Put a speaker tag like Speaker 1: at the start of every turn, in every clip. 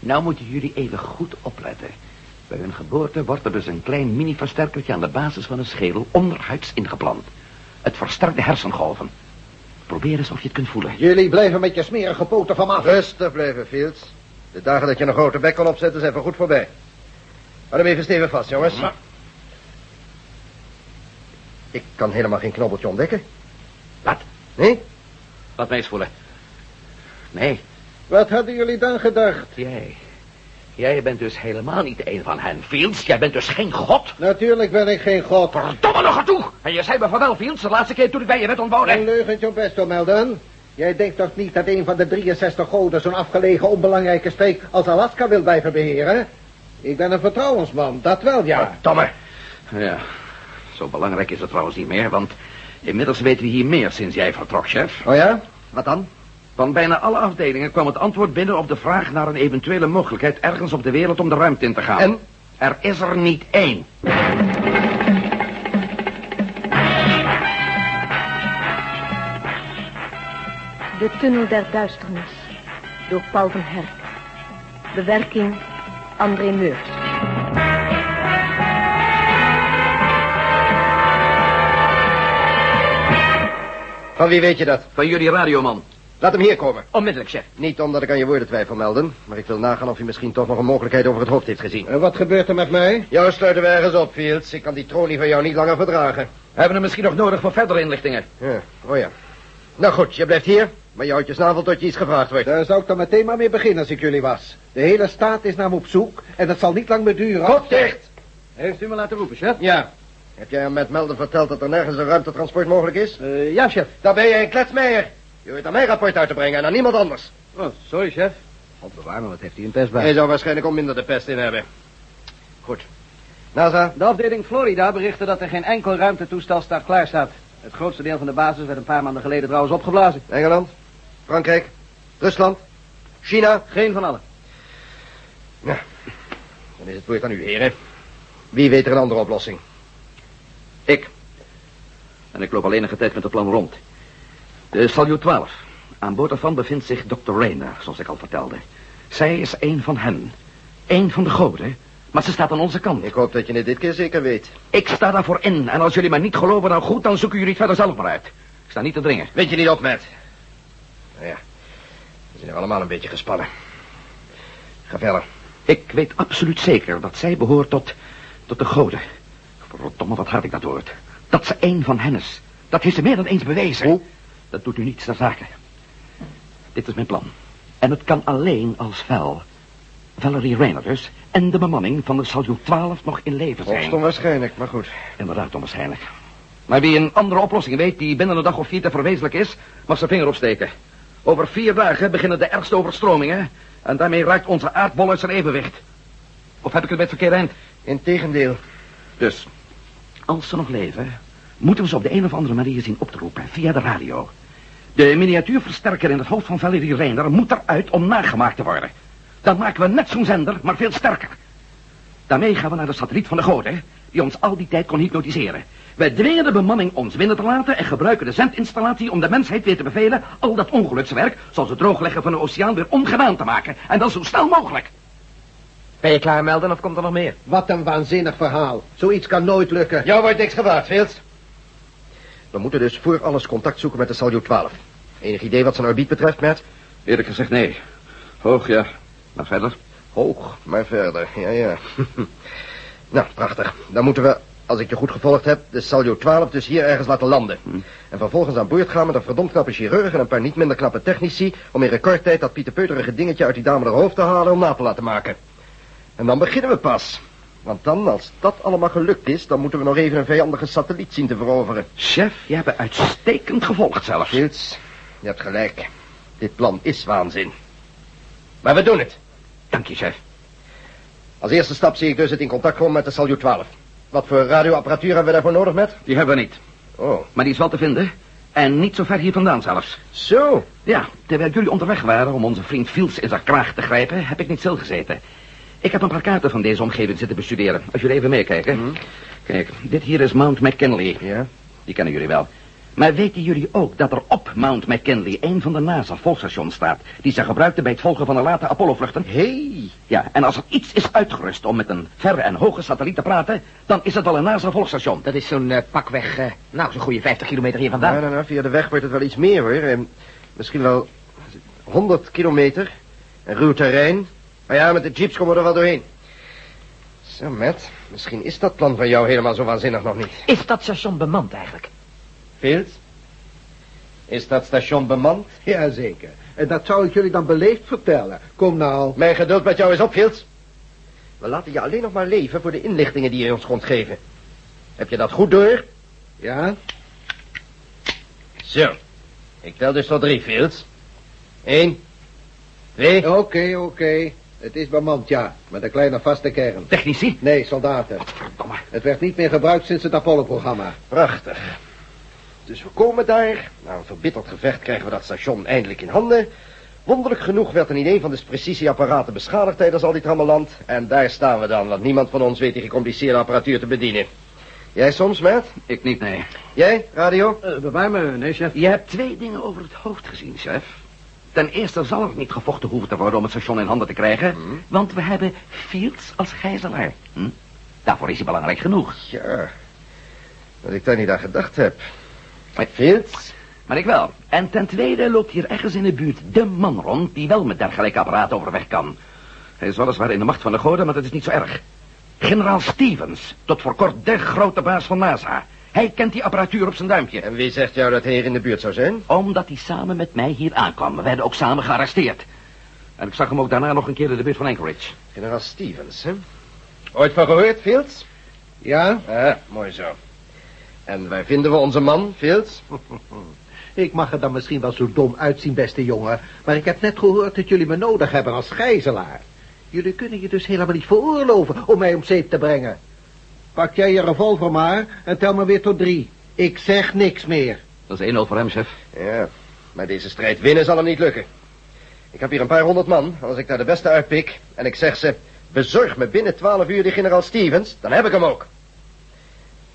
Speaker 1: nou moeten jullie even goed opletten. Bij hun geboorte wordt er dus een klein mini-versterkertje aan de basis van een schedel onderhuids ingeplant. Het versterkt de hersengolven. Probeer eens of je het kunt voelen.
Speaker 2: Jullie blijven met je smerige poten van me af.
Speaker 3: Rustig blijven, Fields. De dagen dat je een grote bek kan opzetten zijn voorgoed voorbij. Hou hem even stevig vast, jongens.
Speaker 1: Ja.
Speaker 3: Ik kan helemaal geen knobbeltje ontdekken.
Speaker 1: Wat?
Speaker 3: Nee?
Speaker 1: Laat mij eens voelen. Nee,
Speaker 3: Wat hadden jullie dan gedacht?
Speaker 1: jij. Jij bent dus helemaal niet een van hen, Fields. Jij bent dus geen god.
Speaker 3: Natuurlijk ben ik geen god.
Speaker 1: Verdomme nog toe! En je zei me van wel, Fields, de laatste keer toen ik bij je werd
Speaker 3: Een
Speaker 1: ontboden.
Speaker 3: leugentje op best, Melden. Jij denkt toch niet dat een van de 63 goden zo'n afgelegen, onbelangrijke streek als Alaska wil blijven beheren? Ik ben een vertrouwensman, dat wel, ja.
Speaker 1: Verdomme. Ja, zo belangrijk is het trouwens niet meer, want inmiddels weten we hier meer sinds jij vertrok, chef.
Speaker 3: Oh ja? Wat dan?
Speaker 1: Van bijna alle afdelingen kwam het antwoord binnen op de vraag naar een eventuele mogelijkheid ergens op de wereld om de ruimte in te gaan.
Speaker 3: En?
Speaker 1: Er is er niet één.
Speaker 4: De Tunnel der Duisternis. Door Paul van Herk. Bewerking André Meurs.
Speaker 3: Van wie weet je dat?
Speaker 1: Van jullie radioman.
Speaker 3: Laat hem hier komen.
Speaker 1: Onmiddellijk, chef.
Speaker 3: Niet omdat ik aan je woorden twijfel, Melden. Maar ik wil nagaan of je misschien toch nog een mogelijkheid over het hoofd heeft gezien.
Speaker 2: En wat gebeurt er met mij?
Speaker 3: Jou sluiten we ergens op, Fields. Ik kan die tronie van jou niet langer verdragen.
Speaker 1: We hebben hem misschien nog nodig voor verdere inlichtingen.
Speaker 3: Ja, oh ja. Nou goed, je blijft hier. Maar je houdt je snavel tot je iets gevraagd wordt.
Speaker 2: Daar zou ik dan meteen maar mee beginnen als ik jullie was. De hele staat is naar me op zoek en dat zal niet lang meer duren.
Speaker 3: Kop dicht!
Speaker 2: Heeft u me laten roepen, chef?
Speaker 3: Ja. Heb jij hem met Melden verteld dat er nergens een ruimtetransport mogelijk is?
Speaker 2: Eh, ja, chef.
Speaker 3: Daar ben je een kletsmeijer. Je hoort aan mijn rapport uit te brengen en aan niemand anders.
Speaker 2: Oh, sorry, chef. Op de warme, wat heeft hij een pest bij?
Speaker 3: Hij zou waarschijnlijk al minder de pest in hebben. Goed. NASA,
Speaker 2: De afdeling Florida berichtte dat er geen enkel ruimtetoestel staat klaar staat. Het grootste deel van de basis werd een paar maanden geleden trouwens opgeblazen.
Speaker 3: Engeland, Frankrijk, Rusland, China. Nou,
Speaker 2: Geen van allen.
Speaker 3: Dan is het woord aan u, heren. Wie weet er een andere oplossing?
Speaker 1: Ik. En ik loop al enige tijd met het plan rond. De Salyut 12. Aan boord daarvan bevindt zich Dr. Rayner, zoals ik al vertelde. Zij is een van hen. Een van de goden. Maar ze staat aan onze kant.
Speaker 3: Ik
Speaker 1: Ik,
Speaker 3: hoop dat je het dit keer zeker weet.
Speaker 1: sta daarvoor in. En als jullie mij niet geloven, nou goed, dan zoeken jullie het verder zelf maar uit. Ik sta niet te dringen.
Speaker 3: Weet je niet op, Matt? Nou ja, we zijn er allemaal een beetje gespannen. Ga verder.
Speaker 1: Ik weet absoluut zeker dat zij behoort tot... tot de goden. Verdomme, wat had ik dat woord. Dat ze een van hen is. Dat heeft ze meer dan eens bewezen.
Speaker 3: Hoe?
Speaker 1: Dat doet nu niets ter zake. Dit is mijn plan. En het kan alleen als Val, Valerie Rayner dus, en de bemanning van de Salyut 12 nog in leven zijn.
Speaker 3: waarschijnlijk, maar goed.
Speaker 1: Inderdaad, onwaarschijnlijk. Maar wie een andere oplossing weet die binnen een dag of vier te verwezenlijk is, mag zijn vinger opsteken. Over vier dagen beginnen de ergste overstromingen en daarmee raakt onze aardbol uit zijn evenwicht. Of heb ik het met het verkeerde eind?
Speaker 3: Integendeel.
Speaker 1: Dus, als ze nog leven, moeten we ze op de een of andere manier zien op te roepen, via de radio. De miniatuurversterker in het hoofd van Valerie Reiner moet eruit om nagemaakt te worden. Dan maken we net zo'n zender, maar veel sterker. Daarmee gaan we naar de satelliet van de goden, die ons al die tijd kon hypnotiseren. Wij dwingen de bemanning ons winnen te laten en gebruiken de zendinstallatie om de mensheid weer te bevelen al dat ongelukswerk, zoals het droogleggen van de oceaan, weer ongedaan te maken. En dan zo snel mogelijk.
Speaker 3: Ben je klaar, Melden, of komt er nog meer?
Speaker 2: Wat een waanzinnig verhaal. Zoiets kan nooit lukken.
Speaker 3: Jou wordt niks gewaard, Fields. We moeten dus voor alles contact zoeken met de Salyut 12. Enig idee wat zijn orbiet betreft, Matt?
Speaker 1: Eerlijk gezegd, nee. Hoog, ja. Maar verder?
Speaker 3: Hoog, maar verder. Ja, ja. nou, prachtig. Dan moeten we, als ik je goed gevolgd heb, de Saljo 12 dus hier ergens laten landen. En vervolgens aan boord gaan met een verdomd knappe chirurg en een paar niet minder knappe technici... om in recordtijd dat pieterpeuterige dingetje uit die dame haar hoofd te halen om na te laten maken. En dan beginnen we pas. Want dan, als dat allemaal gelukt is, dan moeten we nog even een vijandige satelliet zien te veroveren.
Speaker 1: Chef, je hebt me uitstekend gevolgd zelfs.
Speaker 3: Fields, je hebt gelijk. Dit plan is waanzin. Maar we doen het.
Speaker 1: Dank je, chef.
Speaker 3: Als eerste stap zie ik dus het in contact komen met de Salyut 12. Wat voor radioapparatuur hebben we daarvoor nodig, met?
Speaker 1: Die hebben we niet.
Speaker 3: Oh,
Speaker 1: Maar die is wel te vinden. En niet zo ver hier vandaan zelfs.
Speaker 3: zo.
Speaker 1: Ja, terwijl jullie onderweg waren om onze vriend Fields in zijn kraag te grijpen, heb ik niet stilgezeten. Ik heb een paar kaarten van deze omgeving zitten
Speaker 5: Mhm.
Speaker 1: bestuderen. Als jullie even meekijken. Kijk, dit hier is Mount McKinley.
Speaker 3: Ja?
Speaker 1: Die kennen jullie wel. Maar weten jullie ook dat er op Mount McKinley een van de NASA-volgstations staat... die ze gebruikten bij het volgen van de late Apollo-vluchten?
Speaker 3: Hey.
Speaker 1: Ja, en als er iets is uitgerust om met een verre en hoge satelliet te praten... dan is het wel een NASA-volgstation.
Speaker 5: Dat is zo'n eh, pakweg, eh, nou, zo'n goede 50 kilometer hier vandaan.
Speaker 3: Nou, nou, nou, via de weg wordt het wel iets meer, hoor. En misschien wel 100 kilometer. Een ruw terrein. Maar ja, met de jeeps komen we er wel doorheen. Zo, Matt. Misschien is dat plan van jou helemaal zo waanzinnig nog niet.
Speaker 5: Is dat station bemand eigenlijk?
Speaker 3: Fields? Is dat station bemand?
Speaker 6: Jazeker. En dat zou ik jullie dan beleefd vertellen. Kom nou.
Speaker 3: Mijn geduld met jou is op, Fields. We laten je alleen nog maar leven voor de inlichtingen die je ons komt geven. Heb je dat goed door?
Speaker 6: Ja?
Speaker 3: Zo. Ik tel dus tot drie, Fields. Eén. Twee.
Speaker 1: Oh,
Speaker 6: Oké, oké. Het is bemand, ja. Met een kleine vaste kern.
Speaker 1: Technici?
Speaker 6: Nee, soldaten.
Speaker 1: Verdomme.
Speaker 6: Het werd niet meer gebruikt sinds het Apollo-programma.
Speaker 3: Prachtig. Dus we komen daar. Na een verbitterd gevecht krijgen we dat station eindelijk in handen. Wonderlijk genoeg werd er niet een van de precisieapparaten beschadigd tijdens al dit rammeland. En daar staan we dan, want niemand van ons weet die gecompliceerde apparatuur te bedienen. Jij soms, Matt?
Speaker 1: Ik niet, nee.
Speaker 3: Jij, radio?
Speaker 2: Eh, bewaar me, nee, chef.
Speaker 1: Je hebt twee dingen over het hoofd gezien, chef. Ten eerste zal er niet gevochten hoeven te worden om het station in handen te krijgen...
Speaker 3: Hmm.
Speaker 1: want we hebben Fields als gijzelaar. Hm? Daarvoor is hij belangrijk genoeg.
Speaker 3: Ja. Dat ik daar niet aan gedacht heb. Fields?
Speaker 1: Maar ik wel. En ten tweede loopt hier ergens in de buurt de man rond... die wel met dergelijke apparaten overweg kan. Hij is weliswaar in de macht van de goden, maar dat is niet zo erg. Generaal Stevens, tot voor kort de grote baas van NASA. Hij kent die apparatuur op zijn duimpje.
Speaker 3: En wie zegt jou dat hij hier in de buurt zou zijn?
Speaker 1: Omdat hij samen met mij hier aankwam. We werden ook samen gearresteerd. En ik zag hem ook daarna nog een keer in de buurt van Anchorage.
Speaker 3: Generaal Stevens, hè? Ooit van gehoord, Fields?
Speaker 6: Ja?
Speaker 3: Ah, mooi zo. En waar vinden we onze man, Fields?
Speaker 6: Ik mag er dan misschien wel zo dom uitzien, beste jongen. Maar ik heb net gehoord dat jullie me nodig hebben als gijzelaar. Jullie kunnen je dus helemaal niet veroorloven om mij om zeep te brengen. Pak jij je revolver maar en tel me weer tot drie. Ik zeg niks meer.
Speaker 1: Dat is 1-0 voor hem, chef.
Speaker 3: Ja, maar deze strijd winnen zal hem niet lukken. Ik heb hier een paar honderd man. Als ik daar de beste uitpik en ik zeg ze... bezorg me binnen twaalf uur die generaal Stevens, dan heb ik hem ook.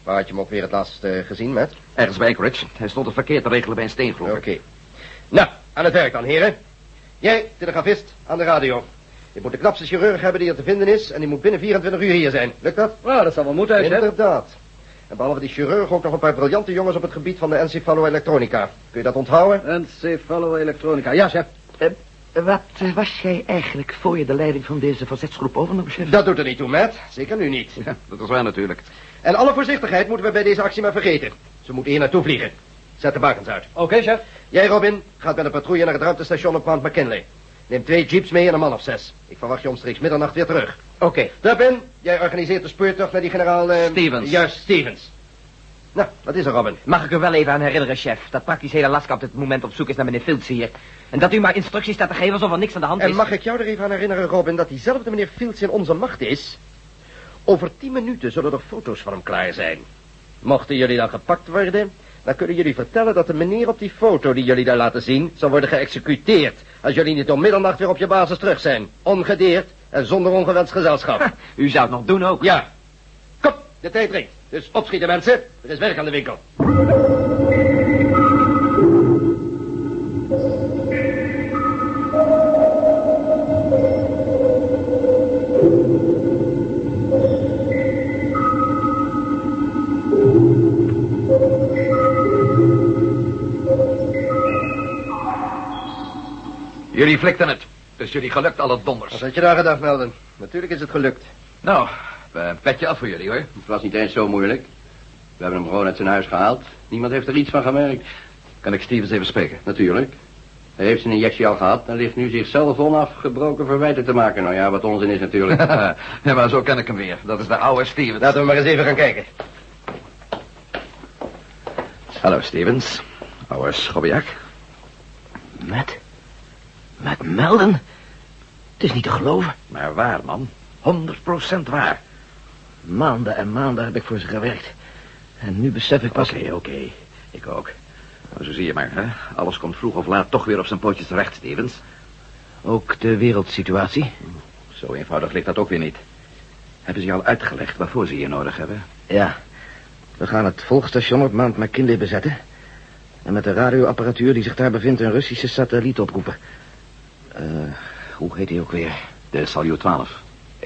Speaker 3: Waar had je hem ook weer het laatst eh, gezien, Matt?
Speaker 1: Ergens bij Anchorage. Hij stond het verkeer te regelen bij een steengroep.
Speaker 3: Oké. Nou, aan het werk dan, heren. Jij, telegrafist, aan de radio. Je moet de knapste chirurg hebben die er te vinden is... en die moet binnen 24 uur hier zijn. Lukt dat?
Speaker 2: Nou, dat zal wel moeten, chef.
Speaker 3: Inderdaad. En behalve die chirurg ook nog een paar briljante jongens op het gebied van de encefaloelektronica. Kun je dat onthouden?
Speaker 2: Encefalo-elektronica. Ja, chef.
Speaker 1: Wat eh, was jij eigenlijk voor je de leiding van deze verzetsgroep overnam, chef?
Speaker 3: Dat doet er niet toe, Matt. Zeker nu niet.
Speaker 1: Ja, dat was waar natuurlijk.
Speaker 3: En alle voorzichtigheid moeten we bij deze actie maar vergeten. Ze moeten hier naartoe vliegen. Zet de bakens uit.
Speaker 2: Oké, chef.
Speaker 3: Jij, Robin, gaat met een patrouille naar het ruimtestation op Mount McKinley. Neem twee jeeps mee en een man of zes. Ik verwacht je omstreeks middernacht weer terug.
Speaker 5: Oké.
Speaker 3: Robin, jij organiseert de speurtocht naar die generaal... eh,
Speaker 1: Stevens.
Speaker 3: Juist, Stevens. Nou, wat is er, Robin?
Speaker 5: Mag ik er wel even aan herinneren, chef, dat praktisch heel Alaska op dit moment op zoek is naar meneer Fields hier. En dat u maar instructies staat te geven alsof er niks aan de hand
Speaker 3: En
Speaker 5: is.
Speaker 3: mag ik jou er even aan herinneren, Robin, dat diezelfde meneer Fields in onze macht is? Over tien minuten zullen er foto's van hem klaar zijn. Mochten jullie dan gepakt worden, dan kunnen jullie vertellen dat de meneer op die foto die jullie daar laten zien, zal worden geëxecuteerd. Als jullie niet om middernacht weer op je basis terug zijn. Ongedeerd en zonder ongewenst gezelschap.
Speaker 5: U zou het nog doen ook.
Speaker 3: Ja. Kom, de tijd dringt. Dus opschieten, mensen. Er is werk aan de winkel.
Speaker 1: Jullie flikten het. Dus jullie gelukt al dat donders.
Speaker 3: Wat had je daar gedacht, Melden? Natuurlijk is het gelukt.
Speaker 1: Nou, eh, petje af voor jullie, hoor.
Speaker 2: Het was niet eens zo moeilijk. We hebben hem gewoon uit zijn huis gehaald. Niemand heeft er iets van gemerkt.
Speaker 1: Kan ik Stevens even spreken?
Speaker 2: Natuurlijk. Hij heeft zijn injectie al gehad en ligt nu zichzelf onafgebroken verwijten te maken. Nou ja, wat onzin is natuurlijk.
Speaker 1: ja, maar zo ken ik hem weer. Dat is de oude Stevens.
Speaker 3: Laten we maar eens even gaan kijken.
Speaker 1: Hallo, Stevens. Oude schobbejak. Met? Met Melden? Het is niet te geloven. Maar waar, man. 100% waar. Maanden en maanden heb ik voor ze gewerkt. En nu besef ik pas... Oké, oké. Ik ook. Maar zo zie je maar, hè. Alles komt vroeg of laat toch weer op zijn pootjes terecht, Stevens. Ook de wereldsituatie? Hm, Zo eenvoudig ligt dat ook weer niet. Hebben ze je al uitgelegd waarvoor ze je nodig hebben?
Speaker 3: We gaan het volgstation op Mount McKinley bezetten.
Speaker 1: En met de radioapparatuur die zich daar bevindt een Russische satelliet oproepen. Eh, hoe heet hij ook weer?
Speaker 7: De Salio 12.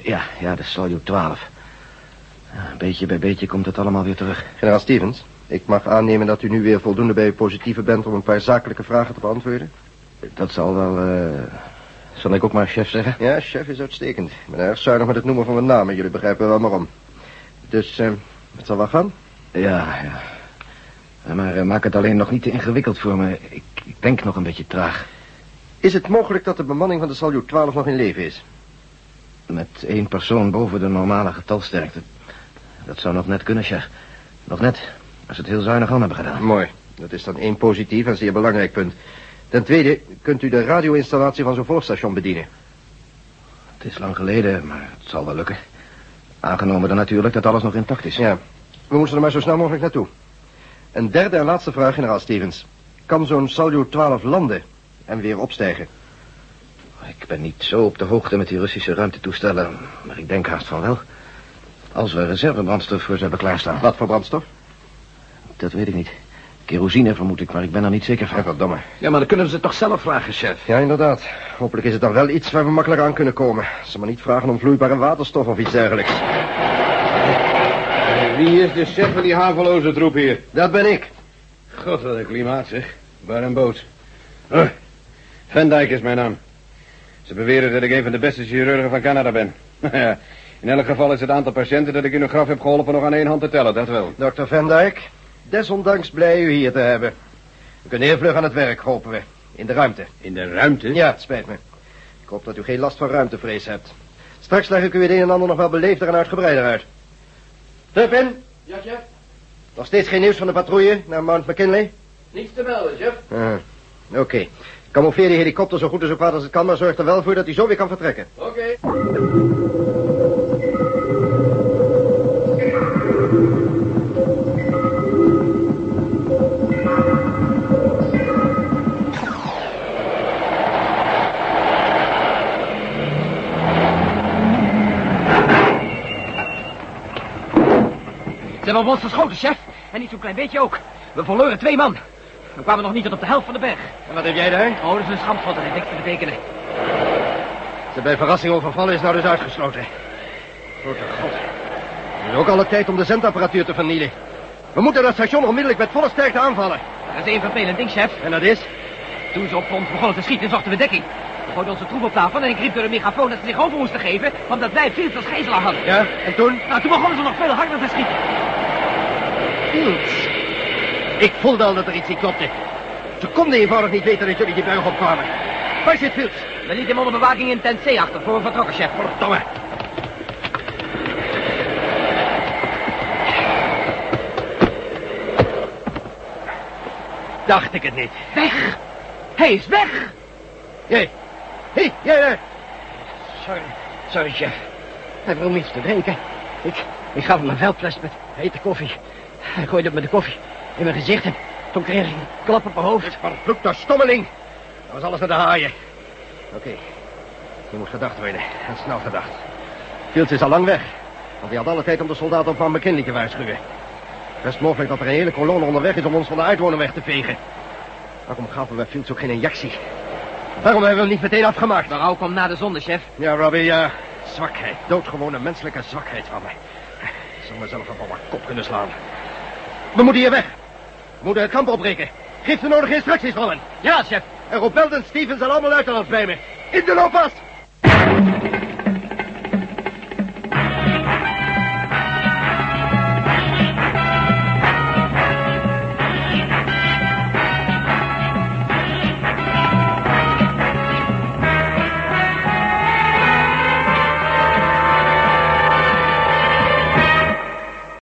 Speaker 1: Ja, ja, de Soyuz 12. Ja, Beetje bij beetje komt het allemaal weer terug.
Speaker 3: Generaal Stevens, ik mag aannemen dat u nu weer voldoende bij uw positieve bent om een paar zakelijke vragen te beantwoorden.
Speaker 1: Dat zal wel... eh, zal ik ook maar chef zeggen?
Speaker 3: Ja, chef is uitstekend. Ik ben erg zuinig met het noemen van mijn namen. Jullie begrijpen wel waarom. Dus, eh, het zal wel gaan.
Speaker 1: Ja, ja. Eh, Maar eh, maak het alleen nog niet te ingewikkeld voor me. Ik, ik denk nog een beetje traag.
Speaker 3: Is het mogelijk dat de bemanning van de Salyut 12 nog in leven is?
Speaker 1: Met één persoon boven de normale getalsterkte. Dat zou nog net kunnen, chef. Nog net. Als ze het heel zuinig aan hebben gedaan.
Speaker 3: Mooi. Dat is dan één positief en zeer belangrijk punt. Ten tweede, kunt u de radioinstallatie van zo'n volgstation bedienen?
Speaker 1: Het is lang geleden, maar het zal wel lukken. Aangenomen dan natuurlijk dat alles nog intact is.
Speaker 3: Ja, we moesten er maar zo snel mogelijk naartoe. Een derde en laatste vraag, generaal Stevens. Kan zo'n Salyut 12 landen en weer opstijgen?
Speaker 1: Ik ben niet zo op de hoogte met die Russische ruimtetoestellen, maar ik denk haast van wel. Als we reservebrandstof voor ze hebben klaarstaan.
Speaker 3: Wat voor brandstof?
Speaker 1: Dat weet ik niet. Kerosine vermoed ik, maar ik ben er niet zeker van.
Speaker 3: Ja, verdomme.
Speaker 7: Ja, maar dan kunnen we ze toch zelf vragen, chef.
Speaker 3: Ja, inderdaad. Hopelijk is het dan wel iets waar we makkelijk aan kunnen komen. Ze maar niet vragen om vloeibare waterstof of iets dergelijks.
Speaker 8: Eh, Wie is de chef van die haveloze troep hier?
Speaker 3: Dat ben ik.
Speaker 8: God, wat een klimaat, zeg. Bar en boot. Huh. Van Dijk is mijn naam. Ze beweren dat ik een van de beste chirurgen van Canada ben. Nou ja, In elk geval is het aantal patiënten dat ik in uw graf heb geholpen nog aan één hand te tellen, dat wel.
Speaker 3: Dr. Van Dijk, desondanks blij u hier te hebben. We kunnen heel vlug aan het werk, hopen we. In de ruimte.
Speaker 8: In de ruimte?
Speaker 3: Ja, het spijt me. Ik hoop dat u geen last van ruimtevrees hebt. Straks leg ik u het een en ander nog wel beleefder en uitgebreider uit. Turpin? Ja, chef? Nog steeds geen nieuws van de patrouille naar Mount McKinley?
Speaker 9: Niets te melden, chef.
Speaker 3: Ah, Oké. Camoufleer die helikopter zo goed en zo kwaad als het kan, maar zorg er wel voor dat hij zo weer kan vertrekken.
Speaker 9: Oké.
Speaker 10: Ze hebben op ons geschoten, chef. En niet zo'n klein beetje ook. We verloren twee man. We kwamen nog niet tot op de helft van de berg.
Speaker 3: En wat heb jij daar?
Speaker 10: Oh, dat is een schampschotter. Niks te betekenen.
Speaker 3: Ze bij verrassing overvallen is nou dus uitgesloten. Grote god. Er is ook alle tijd om de zendapparatuur te vernielen. We moeten dat station onmiddellijk met volle sterkte aanvallen.
Speaker 10: Dat is één vervelend ding, chef.
Speaker 3: En dat is?
Speaker 10: Toen ze op ons begonnen te schieten, zochten we dekking. We gooiden onze troep op tafel en ik riep door de megafoon dat ze zich over moesten geven, omdat wij Fields als gijzelaar hadden.
Speaker 3: Ja, en toen?
Speaker 10: Nou, toen begonnen ze nog veel harder te schieten.
Speaker 3: Niets. Ik voelde al dat er iets niet klopte. Ze konden eenvoudig niet weten dat jullie die berg opkwamen. Waar zit Fields?
Speaker 10: We lieten hem onder bewaking in tent C achter voor we vertrokken, chef.
Speaker 3: Verdomme. Dacht ik het niet.
Speaker 10: Weg! Hij is weg!
Speaker 3: Jij. Hé, jij daar.
Speaker 10: Sorry, sorry, chef. Hij vroeg iets te drinken. Ik, ik gaf hem een veldfles met hete koffie. Hij gooide het met de koffie in mijn gezicht en toen kreeg ik een klap op mijn hoofd.
Speaker 3: Vervloekte stommeling. Dat was alles naar de haaien. Oké. Je moet gedacht worden. En snel gedacht. Fields is al lang weg. Want hij had alle tijd om de soldaten op Van McKinley te waarschuwen. Best mogelijk dat er een hele kolonne onderweg is om ons van de uitwoner weg te vegen. Waarom gaven we Fields ook geen injectie? Waarom hebben we hem niet meteen afgemaakt?
Speaker 10: Berouw kwam na de zonde, chef.
Speaker 3: Ja, Robbie, ja. Zwakheid. Doodgewone menselijke zwakheid van mij. Ik zal mezelf wel mijn kop kunnen slaan. We moeten hier weg. We moeten het kamp opbreken. Geef de nodige instructies, Robin.
Speaker 10: Ja, chef.
Speaker 3: En roep Belden, Stevens en allemaal uit bij me. In de looppas!